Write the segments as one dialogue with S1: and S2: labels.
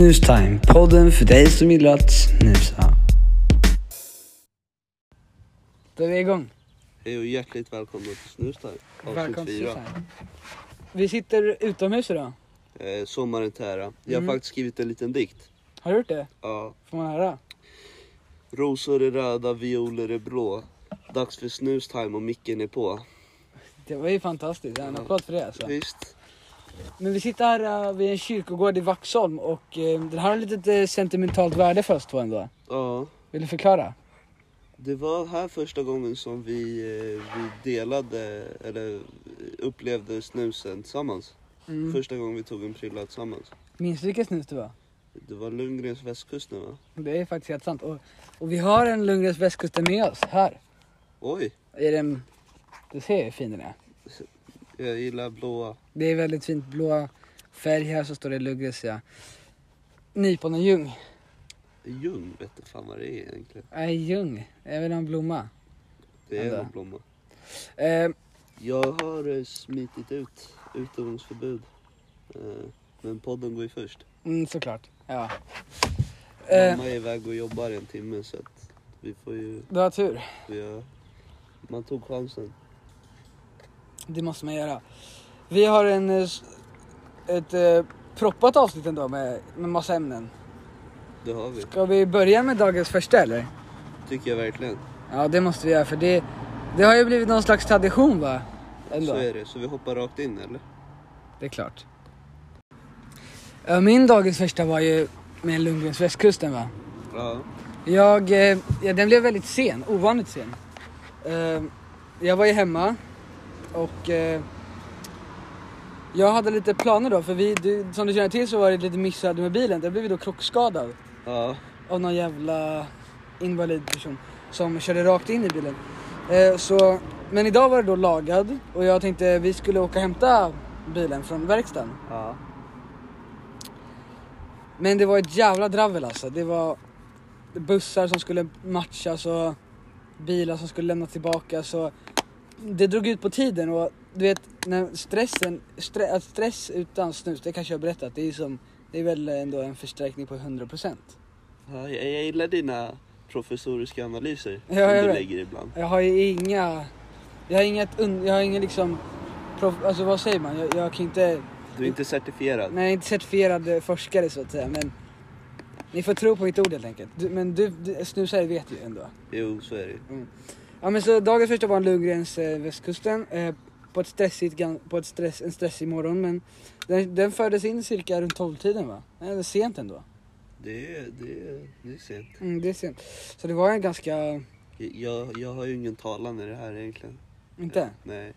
S1: Snustime, podden för dig som gillar att snusa. Då är vi igång.
S2: Hej och hjärtligt välkomna till Snustar, avsnitt
S1: Välkommen till
S2: 4.
S1: Snustime. Vi sitter utomhus idag.
S2: Eh, sommaren till ära. Jag har
S1: Mm.
S2: faktiskt skrivit en liten dikt.
S1: Har du gjort det?
S2: Ja.
S1: Får man höra?
S2: Rosor är röda, violer är blå. Dags för snustime och micken är på.
S1: Det var ju fantastiskt. En applåd för det alltså.
S2: Visst?
S1: Men vi sitter här uh, vid en kyrkogård i Vaxholm och uh, den här har ett litet eh, sentimentalt värde för oss två ändå.
S2: Ja.
S1: Vill du förklara?
S2: Det var här första gången som vi, eh, vi delade, eller upplevde snusen tillsammans.
S1: Mm.
S2: Första gången vi tog en prilla tillsammans.
S1: Minns du vilken snus det var?
S2: Det var Lundgrens västkusten va?
S1: Det är faktiskt helt sant. Och, och vi har en Lundgrens västkusten med oss här.
S2: Oj!
S1: Är den... Du ser hur fin den är.
S2: Jag gillar blåa.
S1: Det är väldigt fint blå färg här så står det Lugges ja. Nyponenljung.
S2: Ljung vet du fan vad det är egentligen.
S1: Nej, ljung. Jag vill ha en blomma.
S2: Det är
S1: Vänta.
S2: en blomma.
S1: Eh,
S2: Jag har eh, smitit ut utegångsförbud. Eh, Men podden går ju först.
S1: mm, såklart. Ja. Eh,
S2: Mamma är iväg och jobbar en timme så att vi får ju...
S1: du har tur.
S2: Vi har, man tog chansen.
S1: Det måste man göra. Vi har en, eh, s- ett eh, proppat avsnitt ändå med, med massa ämnen.
S2: Det har vi.
S1: Ska vi börja med dagens första eller?
S2: Tycker jag verkligen.
S1: Ja, det måste vi göra för det, det har ju blivit någon slags tradition va? Ändå.
S2: Så är det. Så vi hoppar rakt in eller?
S1: Det är klart. Ja, Min dagens första var ju med Lundgrens västkusten va?
S2: Ja.
S1: Jag, eh, ja, den blev väldigt sen, ovanligt sen. Eh, jag var ju hemma och eh, jag hade lite planer då för vi, du, som du känner till så var det lite missöde med bilen. Där blev vi då krockskadad
S2: Ja.
S1: av någon jävla invalid person som körde rakt in i bilen. Eh, så, men idag var det då lagad och jag tänkte vi skulle åka och hämta bilen från verkstaden.
S2: Ja.
S1: Men det var ett jävla dravel alltså. Det var bussar som skulle matchas och bilar som skulle lämnas tillbaka. Så det drog ut på tiden och du vet när stressen, stre, att stress utan snus, det kanske jag har berättat, det är, som, det är väl ändå en förstärkning på 100%.
S2: ja jag, jag gillar dina professoriska analyser
S1: Ja, jag
S2: som du
S1: vet.
S2: lägger ibland.
S1: Jag har ju inga, jag har inget, un- jag har ingen liksom, prof, alltså vad säger man? Jag, jag kan inte,
S2: Du är inte certifierad.
S1: nej jag är inte certifierad eh, forskare så att säga men ni får tro på mitt ord helt enkelt. Du, men du, du snusare vet ju ändå.
S2: Jo, så är det ju.
S1: Ja men så dagens första var en Lundgrens eh, västkusten. Eh, på ett stressigt, gan- på ett stress, en stressig morgon men den, den fördes in cirka runt 12-tiden va? Eller sent ändå.
S2: Det är, det är, det är sent.
S1: Mm, det är sent. Så det var en ganska,
S2: Jag, jag har ju ingen talan i det här egentligen.
S1: inte?
S2: Eh, Nej.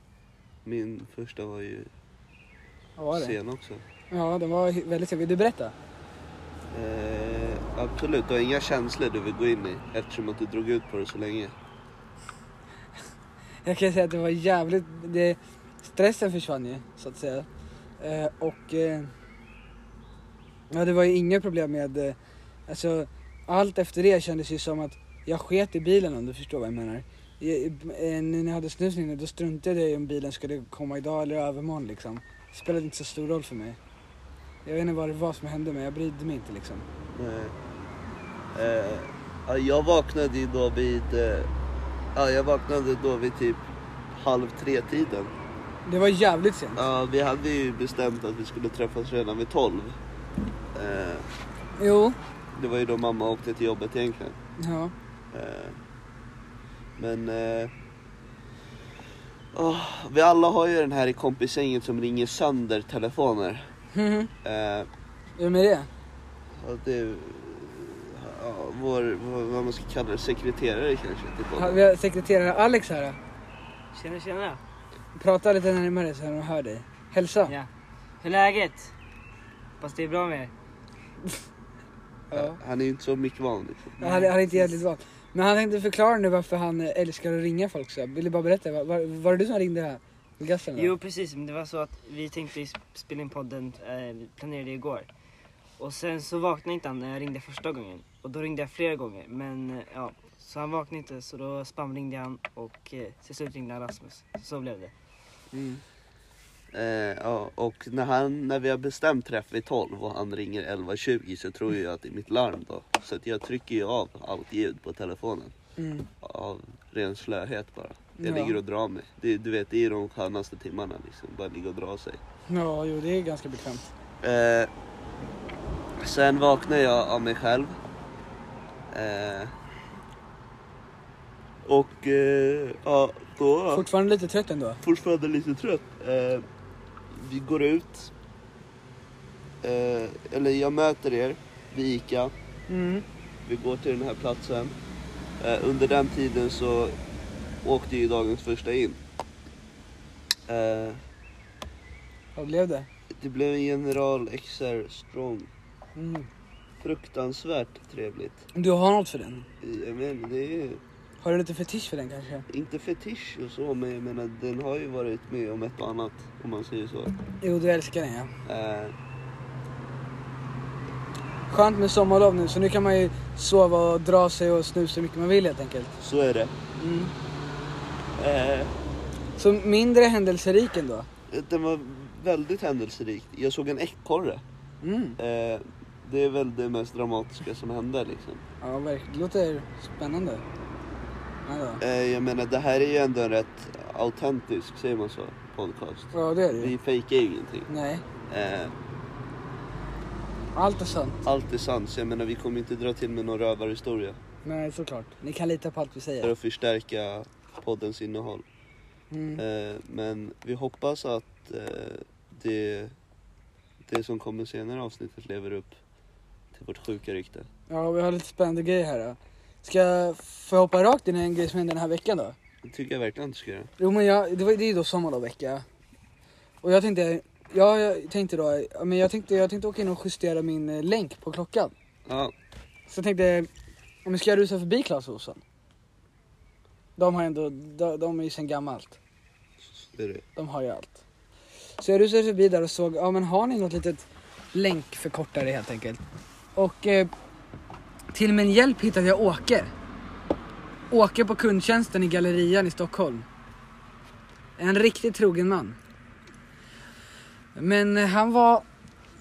S2: Min första var ju
S1: Vad var det?
S2: sen också.
S1: Ja den var hy- väldigt sen. Vill du berätta?
S2: Eh, absolut, du har inga känslor du vill gå in i eftersom att du drog ut på det så länge.
S1: Jag kan säga att det var jävligt, det, stressen försvann ju så att säga. Eh, och eh, ja, det var ju inga problem med, eh, alltså allt efter det kändes ju som att jag sket i bilen om du förstår vad jag menar. Jag, eh, när jag hade snus inne då struntade jag i om bilen skulle komma idag eller övermorgon liksom. Det spelade inte så stor roll för mig. Jag vet inte vad det var som hände men jag brydde mig inte liksom.
S2: Nej. Eh, ja, jag vaknade ju då vid... Eh, ja, jag vaknade då vid typ halv tre-tiden.
S1: Det var jävligt sent.
S2: Ja, vi hade ju bestämt att vi skulle träffas redan vid tolv. Eh,
S1: Jo.
S2: det var ju då mamma åkte till jobbet egentligen.
S1: Ja.
S2: Eh, Men... Eh, åh, vi alla har ju den här i kompisgänget som ringer sönder telefoner.
S1: Mhm.
S2: Eh,
S1: Är du med det?
S2: Ja, det är ja, vår, vår, vad man ska kalla det, sekreterare kanske. Typ.
S1: Ja, Vi har sekreterare Alex här. Tjena tjena. Prata lite närmare så de hör dig. Hälsa.
S3: Ja. Hur är läget? Hoppas det är bra med er.
S1: Ja.
S2: Han är ju inte så mycket van liksom.
S1: Han, han är inte jävligt van. Men han tänkte förklara nu varför han eh, älskar att ringa folk. Så. jag Vill du bara berätta? Var, var, var det du som ringde här? Gassen,
S3: Jo precis, men det var så att vi tänkte sp- spela in podden, eh, vi planerade igår. Och sen så vaknade inte han när jag ringde första gången. Och då ringde jag flera gånger, men eh, ja. Så han vaknade inte, så
S1: Mm.
S3: då spamringde han och eh, till slut ringde han Rasmus. Så blev det.
S2: Eh, ja, och när, han, när vi har bestämt träff vid 12 och han ringer 11.20 så tror jag att det är mitt larm då. Så att jag trycker ju av allt ljud på telefonen.
S1: Mm.
S2: Av ren slöhet bara. Jag
S1: Ja.
S2: ligger och drar mig. Det, du vet, det är ju de skönaste timmarna liksom. Bara ligga och dra sig.
S1: Ja, jo det är ganska bekvämt.
S2: Eh, sen vaknar jag av mig själv. Eh, och eh, ja, då...
S1: Fortfarande lite trött ändå.
S2: fortfarande lite trött. Eh, vi går ut. Eh, eller jag möter er vid Ica.
S1: Mm.
S2: Vi går till den här platsen. Eh, under den tiden så åkte ju dagens första in. Eh,
S1: Vad blev det?
S2: det blev en General XR Strong.
S1: Mm.
S2: Fruktansvärt trevligt.
S1: Du har något för den?
S2: Jag menar, det är ju
S1: Har du lite fetisch för den kanske?
S2: inte fetisch och så, men jag menar, den har ju varit med om ett och annat om man säger så.
S1: Jo, du älskar den ja.
S2: Eh,
S1: Skönt med sommarlov nu så nu kan man ju sova och dra sig och snusa hur mycket man vill helt enkelt.
S2: så är det.
S1: Mm.
S2: Eh,
S1: Så mindre händelserik ändå.
S2: Den var väldigt händelserik. Jag såg en ekorre.
S1: Mm.
S2: Eh, det är väl det mest dramatiska som hände liksom.
S1: Ja, verkligen. Det låter spännande. Ja, då.
S2: Eh, jag menar, det här är ju ändå en rätt autentisk, säger man så, podcast.
S1: ja det är det ju.
S2: Vi fejkar ju ingenting.
S1: Nej,
S2: Eh,
S1: allt är sant.
S2: allt är sant, så jag menar vi kommer inte dra till med någon rövarhistoria.
S1: Nej, såklart. Ni kan lita på allt vi
S2: För
S1: säger.
S2: att förstärka poddens innehåll.
S1: Mm.
S2: Eh, men vi hoppas att eh, det, det som kommer senare i avsnittet lever upp till vårt sjuka rykte.
S1: Ja, vi har lite spännande grejer här då. Ska få hoppa rakt in i en grej som hände den här veckan då?
S2: Det tycker jag verkligen att du ska göra.
S1: Jo men jag, det, var, det är ju då sommarlovsvecka. Och jag tänkte, ja, jag tänkte då, ja, men jag tänkte, jag tänkte åka in och justera min eh, länk på klockan.
S2: Ja,
S1: Så jag tänkte, ja, men ska jag rusa förbi Clas Ohlson? De har ändå, de, de är ju sen gammalt.
S2: det är det.
S1: De har ju allt. Så jag rusade förbi där och såg, ja men har ni något litet länkförkortare helt enkelt? Och eh, till min hjälp hittade jag Åke. Åke på kundtjänsten i Gallerian i Stockholm. En riktigt trogen man. Men eh, han var,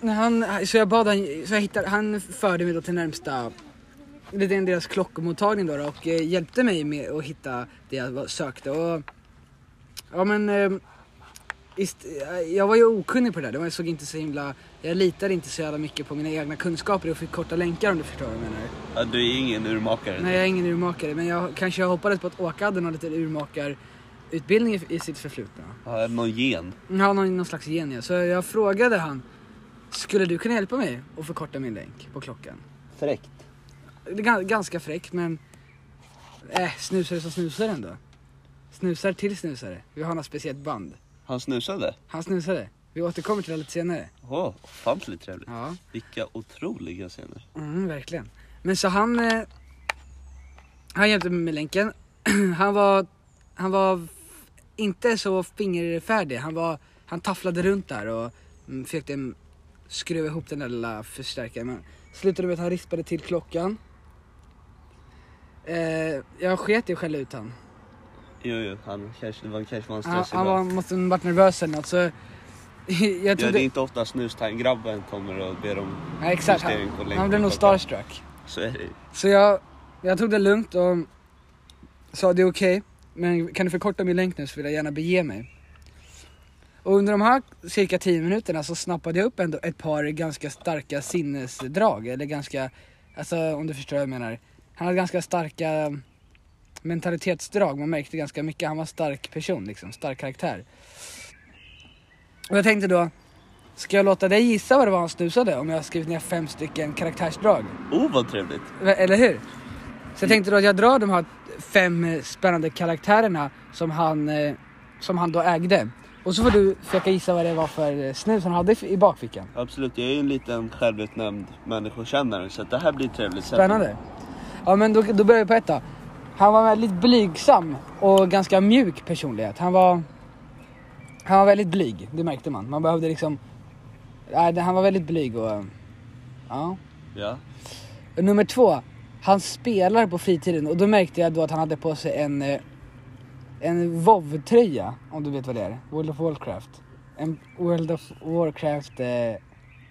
S1: när han, så jag bad han, så jag hittade, han förde mig då till närmsta, lite grann deras klockmottagning då då och eh, hjälpte mig med att hitta det jag var- sökte. Och, ja men eh, Ist, eh, jag var ju okunnig på det där. Jag såg inte så himla... Jag litade inte så jävla mycket på mina egna kunskaper och fick korta länkar om du förstår vad jag menar.
S2: Ja, du är ingen urmakare.
S1: Nej, jag är ingen urmakare men jag kanske jag hoppades på att Åke hade någon liten urmakarutbildning i, i sitt förflutna.
S2: Har jag någon gen?
S1: Han har någon, någon slags geni. Så jag frågade han, skulle du kunna hjälpa mig att förkorta min länk på klockan?
S2: Fräckt.
S1: Det är gan- ganska fräckt men... Äh, snusare som snusar ändå. Snusar till snusare. Vi har något speciellt band.
S2: Han snusade?
S1: Han snusade. Vi återkommer till det lite senare.
S2: Åh, ofantligt trevligt.
S1: Ja.
S2: Vilka otroliga scener.
S1: Mm, verkligen. Men så han... Eh, han hjälpte mig med länken. han var... Han var f- inte så fingerfärdig. Han var... Han tafflade runt där och mm, försökte mm, skruva ihop den där lilla förstärkaren. Men slutade med att han rispade till klockan. Eh, jag sket ju själv ut han.
S2: Jo, jo, han kanske, det var, kanske var en
S1: Han,
S2: stressig
S1: han var,
S2: dag.
S1: måste ha varit nervös eller något så... jag
S2: Ja,
S1: trodde...
S2: det är inte ofta snustang-grabben kommer och ber om
S1: Nej, exakt.
S2: justering på
S1: Han,
S2: länken.
S1: han blev nog starstruck.
S2: Så är det ju.
S1: Så jag, jag tog det lugnt och sa det är okej, men kan du förkorta min länk nu så vill jag gärna bege mig. Och under de här cirka 10 minuterna så snappade jag upp ändå ett par ganska starka sinnesdrag, eller ganska, alltså om du förstår vad jag menar. Han hade ganska starka mentalitetsdrag, man märkte ganska mycket, han var en stark person liksom, stark karaktär. Och jag tänkte då, ska jag låta dig gissa vad det var han snusade om jag har skrivit ner fem stycken karaktärsdrag?
S2: Oh, vad trevligt.
S1: Eller hur? Så jag tänkte då att jag drar de här fem eh, spännande karaktärerna som han, eh, som han då ägde. Och så får du försöka gissa vad det var för eh, snus han hade i f- i bakfickan.
S2: Absolut, jag är ju en liten självutnämnd människokännare så att det här blir trevligt. Sen-
S1: Spännande. Ja men då, då börjar vi på ett då. Han var en väldigt blygsam och ganska mjuk personlighet. Han var, han var väldigt blyg, det märkte man. Man behövde liksom... Nej, det- han var väldigt blyg och... eh, Ja.
S2: Ja.
S1: Och Nummer två, han spelar på fritiden och då märkte jag då att han hade på sig en, eh, en WoW-tröja, om du vet vad det är. World of Warcraft. en World of Warcraft eh,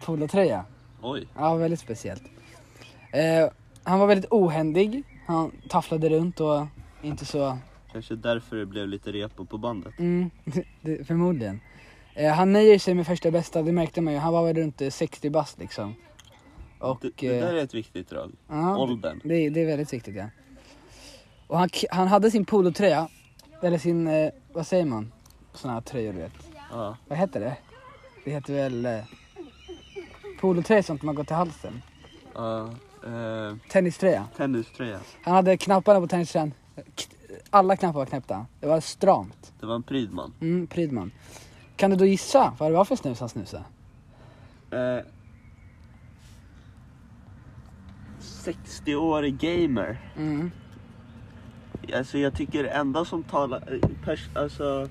S1: polotröja.
S2: Oj.
S1: Ja, väldigt speciellt. Eh, han var väldigt ohändig. Han tafflade runt och inte så...
S2: Kanske därför det blev lite repo på bandet.
S1: Mm, det- förmodligen. Eh, han nöjer sig med första bästa, det märkte man ju. Han var väl runt eh, 60 bast liksom. Och...
S2: det, det där
S1: eh,
S2: är ett viktigt drag.
S1: ja,
S2: Åldern.
S1: Det, är- det är väldigt viktigt ja. Och han, k- han hade sin polotröja, eller sin, eh, vad säger man? Såna här tröjor du vet.
S2: Ja.
S1: Vad heter det? Det heter väl... Eh, polotröja sånt man går till halsen.
S2: Ja. eh,
S1: Tenniströja.
S2: tenniströja.
S1: Han hade knapparna på tenniströjan. K- Alla knappar var knäppta. Det var stramt.
S2: Det var en prydman.
S1: Mm, prydman. Kan du då gissa vad det var för snus han snusade?
S2: Eh, 60-årig gamer.
S1: Mm.
S2: Alltså jag tycker det enda som talar... eh, Pers, alltså,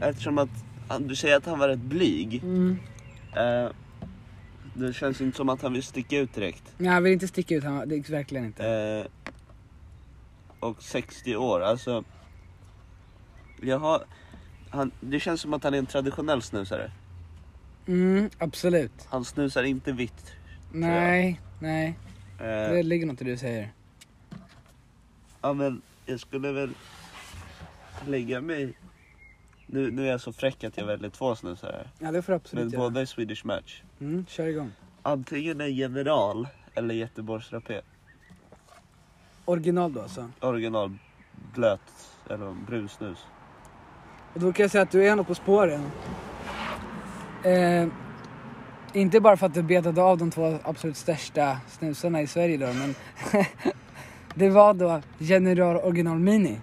S2: eftersom att han- du säger att han var rätt blyg.
S1: Mm.
S2: Eh, det känns inte som att han vill sticka ut direkt.
S1: Nej, jag vill inte sticka ut. Han, var- det, är verkligen inte.
S2: Eh, och 60 år, alltså... Jag har, han, det känns som att han är en traditionell snusare.
S1: Mm, absolut.
S2: Han snusar inte vitt.
S1: Nej, nej. Det
S2: Eh,
S1: ligger något i det du säger.
S2: ja, men jag skulle väl lägga mig... Nu, nu är jag så fräck att jag väljer två snusare.
S1: Ja, det får du
S2: Men
S1: absolut göra.
S2: båda är Swedish Match.
S1: Mm, kör igång.
S2: Antingen en general eller Göteborgsrapé.
S1: Original då alltså.
S2: Original blöt eller brunsnus.
S1: Och då kan jag säga att du är något på spåren. Eh, inte bara för att du betade av de två absolut största snusarna i Sverige då, men det var då General Original Mini.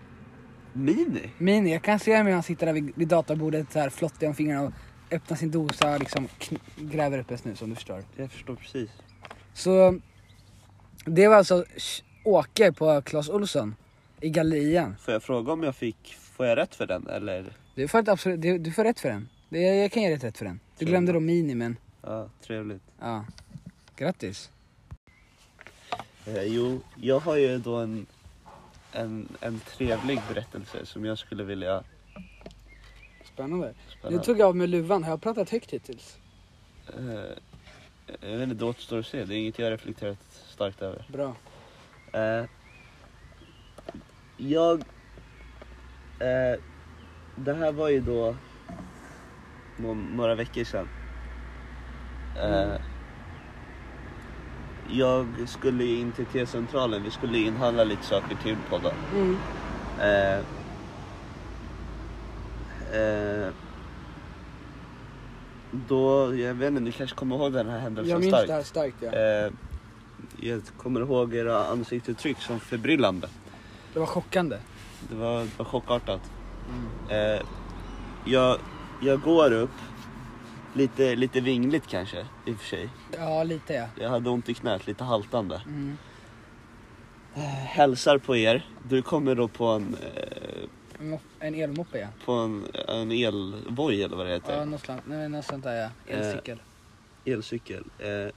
S2: Mini?
S1: Mini, jag kan se honom hur han sitter där vid, vid databordet så här flottig om fingrarna och öppnar sin dosa och liksom kn- gräver upp en snus om du förstår.
S2: Jag förstår precis.
S1: Så det var alltså Sh- Åke på Clas Olsson i gallerian.
S2: Får jag fråga om jag fick, får jag rätt för den eller?
S1: Du får, ett absolut, du, du får rätt för den. Det, jag kan ge dig ett rätt för den. Du
S2: Tror
S1: glömde
S2: jag.
S1: då Mini men
S2: Ja, trevligt.
S1: Ja. Grattis.
S2: Eh, jo, jag har ju då en, en, en trevlig berättelse som jag skulle vilja
S1: Spännande.
S2: spela.
S1: Nu tog jag av mig luvan. Har jag pratat högt hittills?
S2: Eh, jag vet inte, det återstår att se. Det är inget jag har reflekterat starkt över.
S1: Bra.
S2: Eh, jag... Eh, det här var ju då nå- några veckor sedan. Eh, Jag skulle ju in till T-centralen, vi skulle inhandla lite saker till podden.
S1: Mm.
S2: Eh, eh, då, jag vet inte, ni kanske kommer ihåg den här händelsen
S1: Jag minns
S2: starkt.
S1: det här starkt ja.
S2: Eh, jag kommer ihåg era ansiktsuttryck som förbryllande.
S1: Det var chockande.
S2: Det var, det var chockartat.
S1: Mm.
S2: Eh, jag, jag går upp, lite, lite vingligt kanske i och för sig.
S1: Ja, lite ja.
S2: Jag hade ont i knät, lite haltande.
S1: Mm.
S2: Eh, hälsar på er. Du kommer då på en, eh,
S1: En mop- En elmoppe ja.
S2: på en, en elvoj eller vad det heter.
S1: Ja, något sånt, nej, något sånt där ja. Elcykel.
S2: elcykel. Eh,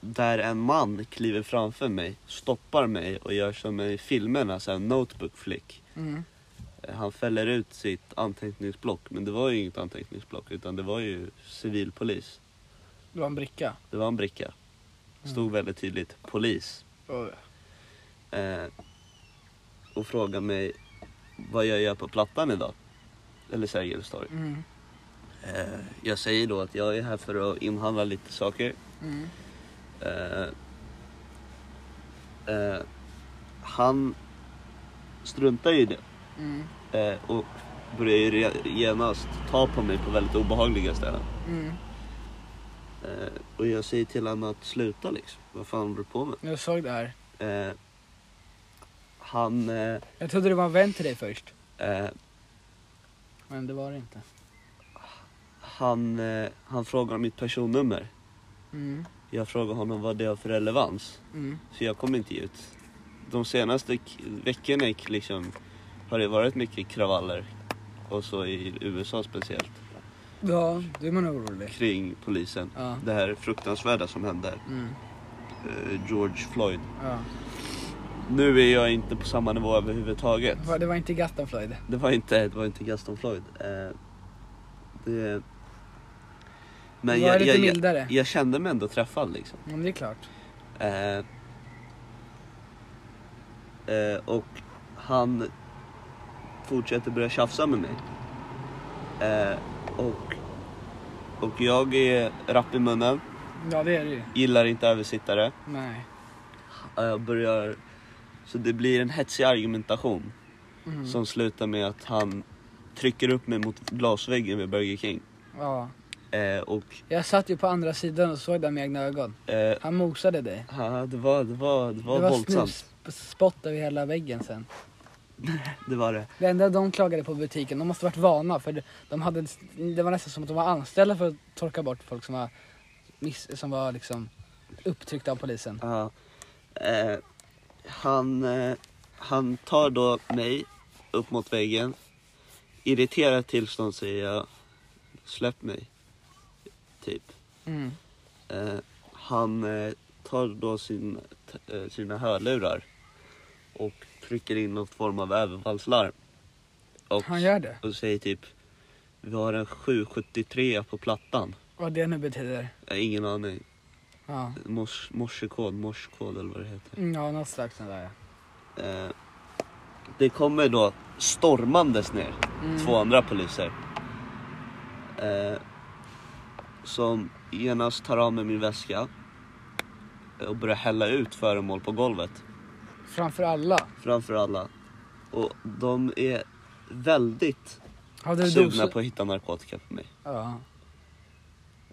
S2: där en man kliver framför mig, stoppar mig och gör som i filmerna, så här notebook flick.
S1: Mm.
S2: Eh, Han fäller ut sitt anteckningsblock, men det var ju inget anteckningsblock utan det var ju civilpolis.
S1: Det var en bricka.
S2: Det var en bricka. Stod väldigt tydligt polis. Eh, och frågar mig vad jag gör på Plattan idag. Eller Sergels torg.
S1: Mm.
S2: Eh, jag säger då att jag är här för att inhandla lite saker.
S1: Mm.
S2: Eh, eh, han struntar ju i det
S1: Mm.
S2: eh, och börjar ju re- genast ta på mig på väldigt obehagliga ställen.
S1: Mm.
S2: Eh, och jag säger till honom att sluta liksom. Vad fan håller du på med?
S1: Jag såg det här.
S2: Eh, han... Eh,
S1: Jag trodde det var en vän till dig först.
S2: eh,
S1: Men det var det inte.
S2: han, eh, han frågar om mitt personnummer.
S1: Mm.
S2: Jag frågar honom vad det har för relevans.
S1: Mm.
S2: Så jag kom inte ut. De senaste k- veckorna liksom, har det varit mycket kravaller. Och så i USA speciellt.
S1: Ja, då är man orolig.
S2: Kring polisen.
S1: Ja.
S2: Det här fruktansvärda som hände.
S1: Mm.
S2: eh, George Floyd.
S1: ja.
S2: Nu är jag inte på samma nivå överhuvudtaget.
S1: Va, Det var inte Gaston Floyd.
S2: Det var inte, det var inte Gaston Floyd. Eh, Det...
S1: Men
S2: Men
S1: jag är
S2: jag,
S1: lite
S2: jag, jag,
S1: mildare.
S2: jag kände mig ändå träffad liksom.
S1: Men det är klart.
S2: Eh, eh, och han fortsätter börja tjafsa med mig. Eh, och, och jag är rapp i munnen,
S1: Ja det är det ju.
S2: gillar inte översittare.
S1: Nej.
S2: Eh, börjar, så det blir en hetsig argumentation
S1: Mm.
S2: som slutar med att han trycker upp mig mot glasväggen vid Burger King.
S1: Ja.
S2: Eh, och
S1: Jag satt ju på andra sidan och såg det med egna ögon.
S2: eh,
S1: Han mosade dig.
S2: ja, det var, det var, det var,
S1: det var
S2: våldsamt.
S1: snusspott över hela väggen sen.
S2: Det var det.
S1: Det enda de klagade på butiken, de måste varit vana för de hade, det var nästan som att de var anställda för att torka bort folk som var, miss, som var liksom upptryckta av polisen.
S2: Ja. Eh, han, eh, han tar då mig upp mot väggen. Irriterat tillstånd säger jag släpp mig. Typ.
S1: Mm.
S2: Eh, han eh, tar då sin, t- eh, sina hörlurar och trycker in någon form av överfallslarm. Och,
S1: Han gör det,
S2: och säger typ vi har en 773 på plattan.
S1: vad det nu betyder.
S2: Jag har ingen aning.
S1: Ja,
S2: Mors, morsekod, morsekod eller vad det heter.
S1: Mm, ja något slags sån där ja.
S2: Eh, det kommer då stormandes ner
S1: Mm.
S2: två andra poliser. Eh, som genast tar av mig min väska och börjar hälla ut föremål på golvet
S1: Framför alla.
S2: framför alla. Och de är väldigt
S1: Hade du
S2: sugna
S1: doser?
S2: på att hitta narkotika på mig.
S1: Ja.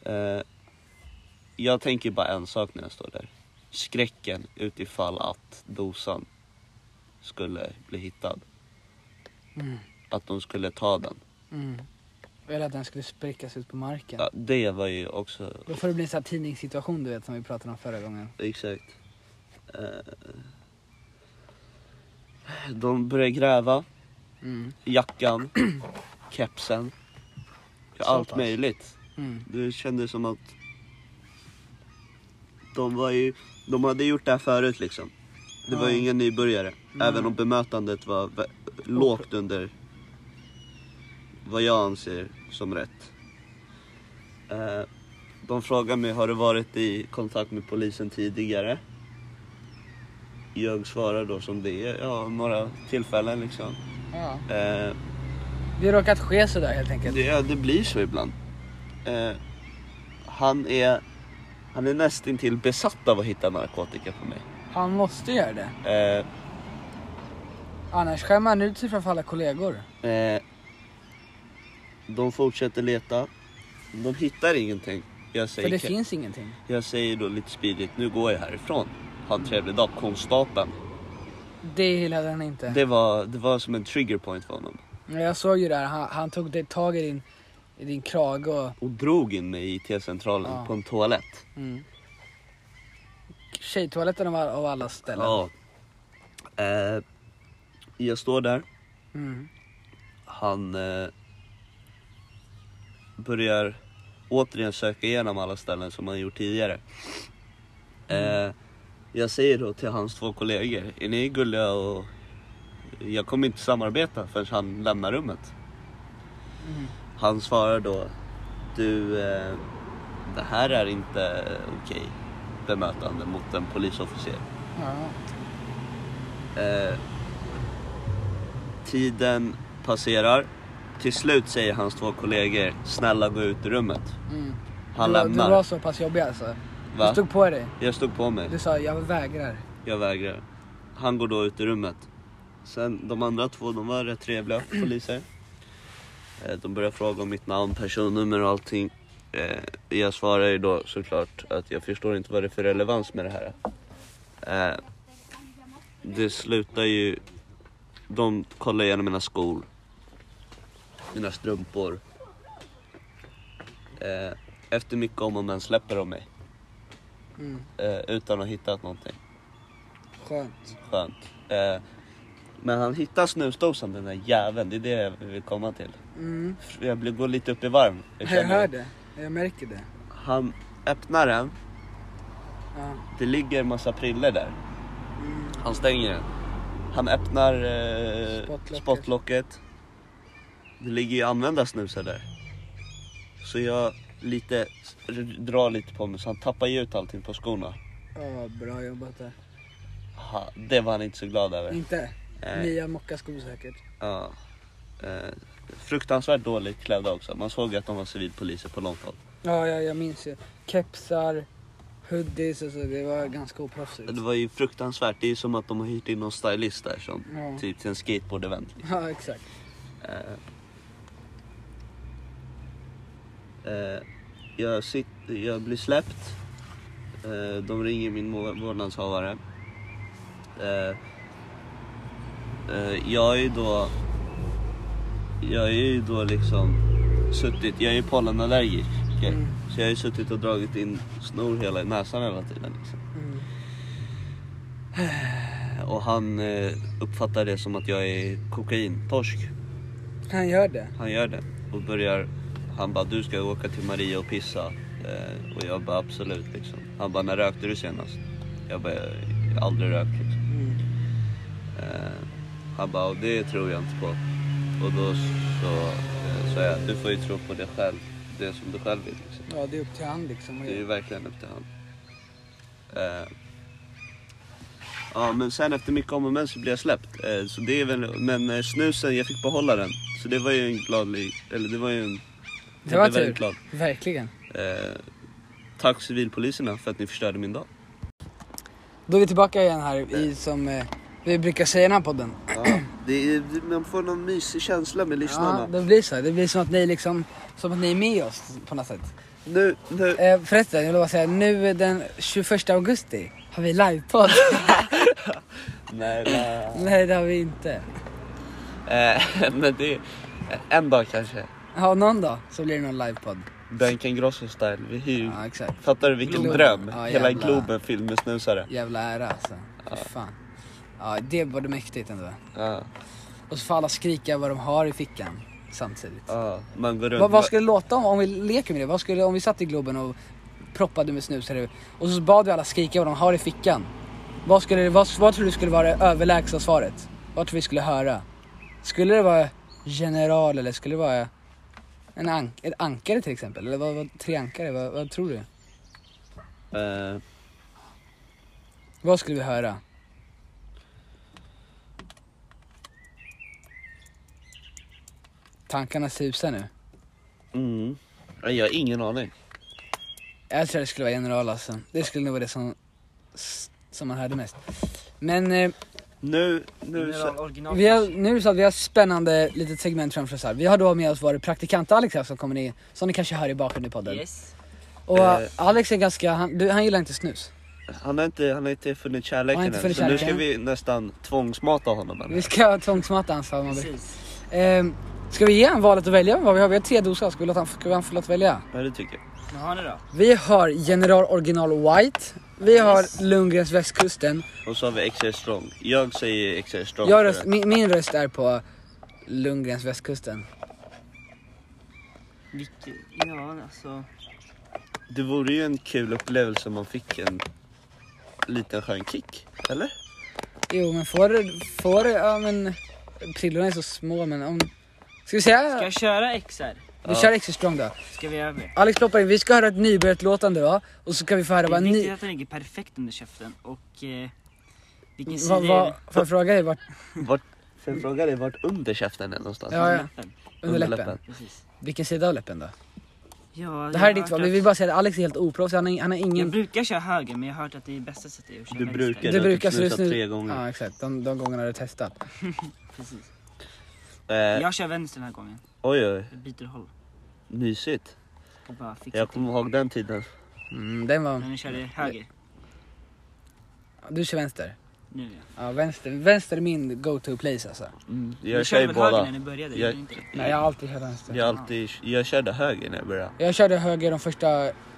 S2: Eh, jag tänker bara en sak när jag står där. Skräcken utifall att dosan skulle bli hittad.
S1: Mm.
S2: Att de skulle ta den.
S1: Mm. Eller att den skulle sprickas ut på marken.
S2: Ja, det var ju också...
S1: Då får det bli en sån här tidningssituation du vet som vi pratade om förra gången.
S2: Exakt. Eh, de började gräva.
S1: Mm.
S2: Jackan, kepsen.
S1: Så
S2: allt
S1: pass.
S2: möjligt.
S1: Mm.
S2: Det kändes som att... De var ju... De hade gjort det här förut liksom. Det var ju
S1: Ja.
S2: inga nybörjare.
S1: Nej.
S2: Även om bemötandet var vä- lågt under vad jag anser som rätt. Eh, de frågar mig, har du varit i kontakt med polisen tidigare? Jag svarar då som det är, ja några tillfällen liksom.
S1: Ja.
S2: Eh,
S1: Det har råkat ske sådär helt enkelt.
S2: det, ja, det blir så ibland. Eh, han är, han är nästintill besatt av att hitta narkotika på mig.
S1: Han måste göra det.
S2: Eh,
S1: Annars skämmer han ut sig framför alla kollegor.
S2: Eh, de fortsätter leta. De hittar ingenting. Jag
S1: För
S2: säger,
S1: det finns ingenting.
S2: jag säger då lite spydigt, nu går jag härifrån. Ha en trevlig dag, konstapeln.
S1: Det gillade han inte.
S2: Det var, det var som en trigger point för honom.
S1: Men Jag såg ju det här, han, han tog det tag i din, i din krage och...
S2: Och drog in mig i T-centralen
S1: Ja.
S2: på en toalett.
S1: Mm. Tjejtoaletten av, all- av alla ställen.
S2: Ja. Eh, jag står där.
S1: Mm.
S2: Han eh, börjar återigen söka igenom alla ställen som han gjort tidigare. Eh, jag säger då till hans två kollegor, är ni gulliga och jag kommer inte samarbeta förrän han lämnar rummet.
S1: Mm.
S2: Han svarar då, du eh, det här är inte okej bemötande mot en polisofficer.
S1: Ja.
S2: Eh, tiden passerar. Till slut säger hans två kollegor, snälla gå ut ur rummet.
S1: Mm.
S2: Han
S1: du, var-
S2: lämnar.
S1: du var så pass jobbig alltså.
S2: Va?
S1: Du stod på dig.
S2: Jag stod på mig,
S1: Du sa jag vägrar.
S2: jag vägrar. Han går då ut ur rummet. Sen de andra två, de var rätt trevliga poliser. Eh, de börjar fråga om mitt namn, personnummer och allting. Eh, jag svarar ju då såklart att jag förstår inte vad det är för relevans med det här. Eh, det slutar ju... De kollar igenom mina skor. Mina strumpor. Eh, efter mycket om och men släpper de mig.
S1: Mm.
S2: Eh, utan att ha hittat någonting.
S1: Skönt.
S2: Skönt. Eh, men han hittar snusdosan den där jäveln, det är det jag vill komma till.
S1: Mm.
S2: Jag blir- går lite upp i varv.
S1: Jag,
S2: känner
S1: hör
S2: det.
S1: det. Jag märker det.
S2: Han öppnar den,
S1: Ja.
S2: det ligger en massa priller där.
S1: Mm.
S2: Han stänger den. Han öppnar eh,
S1: Spottlocket.
S2: spottlocket. Det ligger ju använda snusar där. Så jag lite, drar lite på mig så han tappar ju ut allting på skorna.
S1: Ja, bra jobbat där.
S2: Ha, det var han inte så glad över.
S1: Inte?
S2: Eh,
S1: Nya mockaskor säkert.
S2: ja. eh, fruktansvärt dåligt klädda också. Man såg att de var civilpoliser på långt håll.
S1: Ja, ja, jag minns ju. Kepsar, hoodies, alltså det var ganska oproffsigt.
S2: Det var ju fruktansvärt. Det är ju som att de har hyrt in någon stylist där som
S1: Ja.
S2: typ till en skateboard-event.
S1: ja, exakt.
S2: Eh, jag, sitter, jag blir släppt. Eh, de ringer min må- vårdnadshavare. Eh, eh, jag är ju då... Jag är ju då liksom suttit... Jag är ju pollenallergisk. okej?
S1: Mm.
S2: Så jag har ju suttit och dragit in snor hela i näsan hela tiden. Liksom.
S1: Mm.
S2: Och han eh, uppfattar det som att jag är kokaintorsk.
S1: Han gör det.
S2: Han gör det och börjar... Han bara, du ska åka till Maria och pissa. Eh, och jag bara, absolut liksom. Han bara, när rökte du senast? Jag bara, jag har aldrig rökt liksom.
S1: Mm.
S2: Eh, han bara, och det tror jag inte på. Och då så eh, sa jag, du får ju tro på det själv. Det som du själv vill liksom.
S1: Ja, det är upp till han liksom.
S2: Det är ju verkligen upp till han. Eh, ja, men sen efter mycket om och men så blev jag släppt. Eh, så det är väl, men eh, snusen, jag fick behålla den. Så det var ju en glad... li- Eller det var ju en...
S1: Det
S2: jag
S1: var
S2: blev väldigt
S1: tur.
S2: glad.
S1: Verkligen.
S2: Eh, tack civilpoliserna för att ni förstörde min dag.
S1: Då är vi tillbaka igen här i som eh, vi brukar säga i den här podden.
S2: det är, man får någon mysig känsla med
S1: Ja,
S2: lyssnarna.
S1: det blir så. Det blir som att ni liksom, som att ni är med oss på något sätt.
S2: Nu, nu.
S1: Eh, förresten, jag vill bara säga nu den 21 augusti har vi livepodd.
S2: Nej,
S1: Nej, det har vi inte.
S2: eh, men det är en dag kanske.
S1: Ja, någon dag så blir det någon livepodd.
S2: Benken Grosso-style. Vi hyr.
S1: Ja, exakt.
S2: Fattar du vilken
S1: Globen.
S2: dröm?
S1: Ja,
S2: Hela
S1: jävla-
S2: Globen fylld med snusare.
S1: Jävla ära alltså. Fy Fan. Ja, det var det mäktigt ändå.
S2: Ja,
S1: Och så får alla skrika vad de har i fickan samtidigt.
S2: ja. Man går runt.
S1: Vad, vad skulle det låta om, om vi leker med det? Vad skulle, om vi satt i Globen och proppade med snus här, och så bad vi alla skrika vad de har i fickan. Vad, skulle, det- vad, vad tror du skulle vara det överlägsna svaret? Vad tror vi skulle höra? Skulle det vara general eller skulle det vara en ank, ett ankare till exempel? Eller vad, vad, tre ankare? Vad, vad tror du?
S2: Eh,
S1: Vad skulle vi höra? Tankarna susar nu.
S2: mm. Nej, Jag har ingen aning.
S1: Jag tror det skulle vara general alltså. Det skulle nog vara det som, som man hörde mest. Men eh,
S2: Nu, nu.
S3: General
S2: Så,
S3: original.
S1: vi har, nu är det så att vi har ett spännande litet segment framför oss här. Vi har då med oss vår praktikant Alex här som kommer in, som ni kanske hör i bakgrunden i podden.
S3: Yes.
S1: Och eh,
S2: Eh.
S1: Alex är ganska, han, du, han gillar inte snus.
S2: han har inte, han har inte funnit kärleken
S1: Han har inte
S2: än,
S1: funnit
S2: så nu ska
S1: kärleken.
S2: vi nästan tvångsmata honom.
S1: Vi ska tvångsmatta hans sa man.
S3: Precis.
S1: eh, Ska vi ge honom valet att välja vad vi har? Vi har tre doser, ska vi låta han, ska vi han få låta välja?
S2: Ja, det tycker jag.
S3: Vad har ni då?
S1: Vi har General Original White. Vi har Lundgrens Västkusten.
S2: Och så har vi XR Strong. Jag säger XR Strong.
S1: Jag
S2: för
S1: röst,
S2: det.
S1: min, min röst är på Lundgrens Västkusten.
S3: Vilken? Ja, alltså.
S2: Det vore ju en kul upplevelse om man fick en liten skön kick. Eller?
S1: Jo men får, får ja men prillorna är så små men om... Ska vi säga?
S3: Ska jag köra XR?
S1: Vi kör extra strong då.
S3: Ska vi göra det?
S1: Alex ploppar in, vi ska höra ett nybörjarlåtande va? Och så kan vi få höra
S3: Det är
S1: vad
S3: viktigt
S1: ni...
S3: att den ligger perfekt under käften och eh, vilken sida
S1: Vad, vad, får jag fråga dig vart?
S2: Vart, sen frågar jag vart under käften är någonstans.
S1: Mm. Ja,
S3: är
S1: ja.
S3: det? Läppen.
S1: Under läppen.
S3: Precis.
S1: Vilken sida av läppen då?
S3: Ja,
S1: Det här är
S3: jag har
S1: ditt val,
S3: hört
S1: vi vill
S3: att-
S1: bara säga att Alex är helt oproffsig, han, har- han har
S3: Jag
S1: ingen...
S3: brukar köra höger men jag har hört att det är bästa sättet är att köra
S2: Du
S3: vänster.
S2: brukar.
S1: Det
S2: Jag har
S1: brukar
S2: typ
S1: så just
S2: snusat
S1: nu...
S2: tre gånger.
S1: Ja exakt, de, de gångerna har du testat.
S3: Precis.
S2: Eh,
S3: Jag kör vänster den här gången.
S2: Oj, oj.
S3: Jag byter håll
S2: Mysigt.
S3: och bara fixar
S2: Jag
S3: jag
S2: kommer ihåg den tiden.
S1: Mm, den var...
S3: Men nu kör jag höger.
S1: Du kör vänster.
S3: Nu ja.
S1: Ja vänster, vänster är min go-to place alltså.
S3: Ni
S2: Mm, Jag kör
S3: körde
S2: ju
S3: väl
S2: båda.
S3: höger när ni började?
S2: Jag-
S3: gjorde ni inte det?
S1: Nej jag har alltid kört vänster.
S2: Jag, alltid, jag körde höger när jag började.
S1: Jag körde höger de första...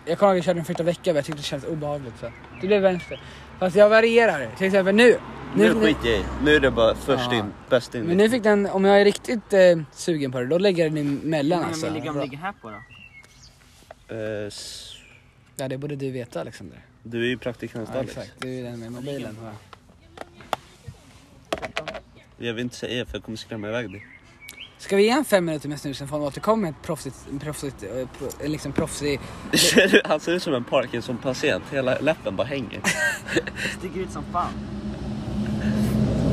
S1: Jag kommer ihåg att jag körde den första veckan men jag tyckte det kändes obehagligt. Så det blev vänster. Fast jag varierar. Till exempel nu.
S2: Nu skiter jag i. Nu är det bara först
S1: Ja.
S2: in, bäst in.
S1: men nu fick den, om jag är riktigt eh, sugen på det, då lägger jag den emellan
S3: Hur
S1: alltså.
S3: många milligram ligger här på då?
S2: Eh, s-
S1: Ja det borde du veta Alexander.
S2: du är ju praktikant
S1: Ja,
S2: Alex.
S1: exakt, det är ju den med mobilen. va.
S2: Jag vill inte säga för jag kommer skrämma iväg dig.
S1: Ska vi ge en fem minuter med snusen för han återkommer med ett proffsigt, proffsigt, eh, pro, eh, liksom proffsig...
S2: Ser du? Han ser ut som en Parkinson-patient. Hela läppen bara hänger.
S3: Sticker ut som fan.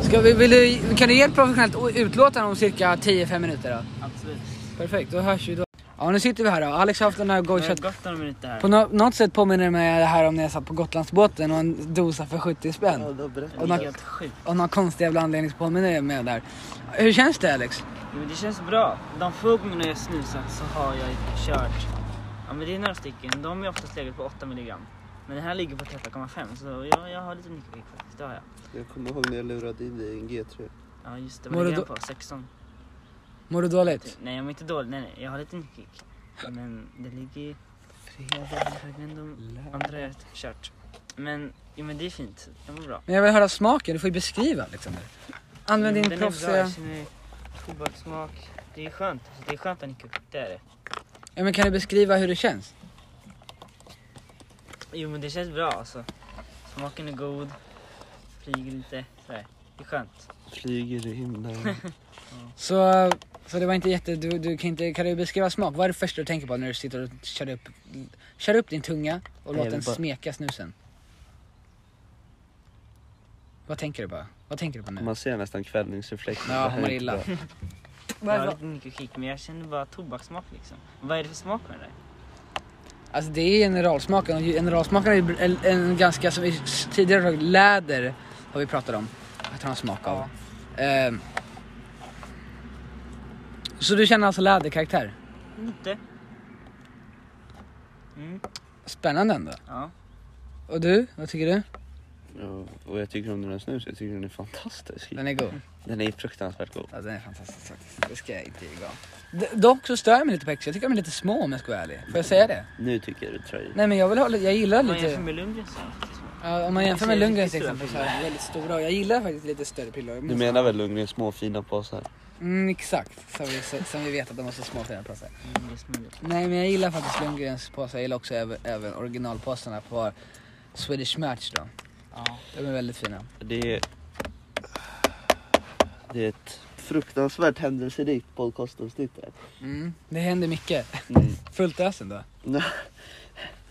S1: Ska vi, vill du, kan du ge ett professionellt o- utlåtande om cirka 10-5 minuter då?
S3: Absolut.
S1: Perfekt, då hörs vi då. Ja nu sitter vi här då. Alex har haft den här
S3: Nu har
S1: gojchat.
S3: det gått några minuter här.
S1: På nå- något sätt påminner det mig det här om när jag satt på Gotlandsbåten och en dosa för 70 spänn.
S3: Det
S1: och
S3: är
S1: något-
S3: helt sjukt.
S1: Av någon konstig jävla anledning så påminner det mig där. Hur känns det Alex?
S3: Jo, men det känns bra. De få gångerna jag snusat så har jag kört. Ja men det är några stycken. De är oftast legat på 8 milligram. Men den här ligger på 13,5 så jag, jag har lite mycket kvick faktiskt. Det har jag.
S2: Jag kommer ihåg när jag lurade in dig i en G3.
S3: Ja just det,
S1: Mår
S3: vad
S1: du
S3: ligger
S1: då-
S3: den på? 16?
S1: Mår du dåligt?
S3: Nej jag mår inte dåligt, nej, nej jag har lite nyckkick. Men det ligger ju... Fredag, men de andra är kört. Men, jo men det är fint, det var bra.
S1: Men jag vill höra smaken, du får ju beskriva Alexander. Använd
S3: Jo,
S1: din
S3: Mm, den är bra,
S1: proffsiga...
S3: jag känner tobakssmak. Det är skönt, alltså, det är skönt att nycka upp, det är det.
S1: Ja, men kan du beskriva hur det känns?
S3: Jo men det känns bra alltså. Smaken är god, flyger lite, sådär. Det är skönt.
S2: Flyger i himlen.
S1: Så, så det var inte jätte... Du, du kan, inte, kan du beskriva smak? Vad är det första du tänker på när du sitter och kör upp, kör upp din tunga och
S2: Nej, jag
S1: låt den
S2: vill bara-
S1: smeka snusen? Vad tänker du på? Vad tänker du på nu?
S2: Man ser nästan kvällningsreflexen.
S1: Ja,
S2: Det här är
S1: mår
S2: inte
S1: illa.
S2: bra.
S3: Jag har lite nyckelkick men jag känner bara tobakssmak liksom. Vad är det för smak med det där?
S1: Alltså det är generalsmaken och generalsmaken är ju en- en ganska, som vi tidigare sagt, läder har vi pratat om. Att han har smak av. Ehm. Så du känner alltså läderkaraktär?
S3: Lite. Mm,
S1: Spännande ändå.
S3: ja.
S1: Och du, vad tycker du?
S2: Ja, Och jag tycker om den här snusen. Jag tycker den är fantastisk.
S1: Den är god.
S2: Den är fruktansvärt god.
S1: Ja, den är fantastisk faktiskt. Det ska jag inte ljuga om. D- Dock så stör jag mig lite på extra. Jag tycker de är lite små om jag ska vara ärlig. Får jag säga det?
S2: Nu tycker jag du tar i.
S1: Nej men jag vill ha, li- jag gillar
S3: Om man jämför
S1: lite.
S3: med Lundgren så Mm, är det faktiskt smak.
S1: Ja, om man jämför
S3: Jag
S1: med
S3: ser
S1: Lundgrens till
S3: riktigt
S1: exempel så
S3: stora
S1: är de väldigt stora. Och jag gillar faktiskt lite större piller.
S2: Du menar väl Lundgren små fina påsar?
S1: Mm, exakt. Som vi, som vi vet att de har så små fina påsar.
S3: Mm, det är smuligt.
S1: Nej men jag gillar faktiskt Lundgrens påsar. Jag gillar också även, även originalpåsarna på Swedish Match då.
S3: Ja.
S1: De är väldigt fina.
S2: Det är... Det är ett fruktansvärt händelserikt podcastavsnitt där.
S1: Mm. Det händer mycket.
S2: Mm.
S1: Fullt ös ändå.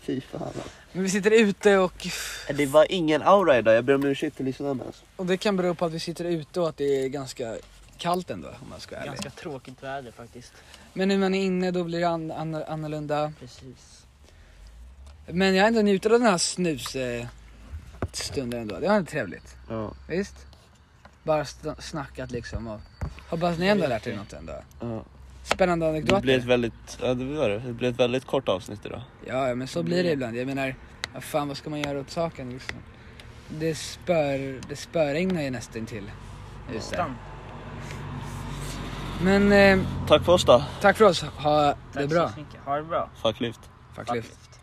S2: Fy fan.
S1: Men vi sitter ute och,
S2: Det var ingen aura idag, jag ber om ursäkt till lyssnarna. Alltså.
S1: och det kan bero på att vi sitter ute och att det är ganska kallt ändå om man ska vara ärlig.
S3: Ganska tråkigt väder faktiskt.
S1: Men när man är inne då blir det an- an- annorlunda.
S3: Precis.
S1: Men jag har ändå njutit av den här snusstunden ändå. Det var ändå trevligt.
S2: Ja,
S1: Visst? Bara st- snackat liksom och hoppas ni ändå har lärt er något ändå.
S2: ja.
S1: Spännande
S2: Det blev ett
S1: anekdoter.
S2: väldigt, ja, det, var det. det blev ett väldigt kort avsnitt idag.
S1: Ja, ja, men så blir det ibland. Jag menar, vad fan vad ska man göra åt saken liksom? Det, spör, det spöregnar ju nästan till. Just det.
S3: Stan.
S1: Men eh,
S2: Tack för oss då,
S1: tack för oss. Ha det
S3: Tack
S1: bra.
S3: så mycket. Ha det bra.
S2: fuck lift.
S1: Fuck lift.
S3: Fuck.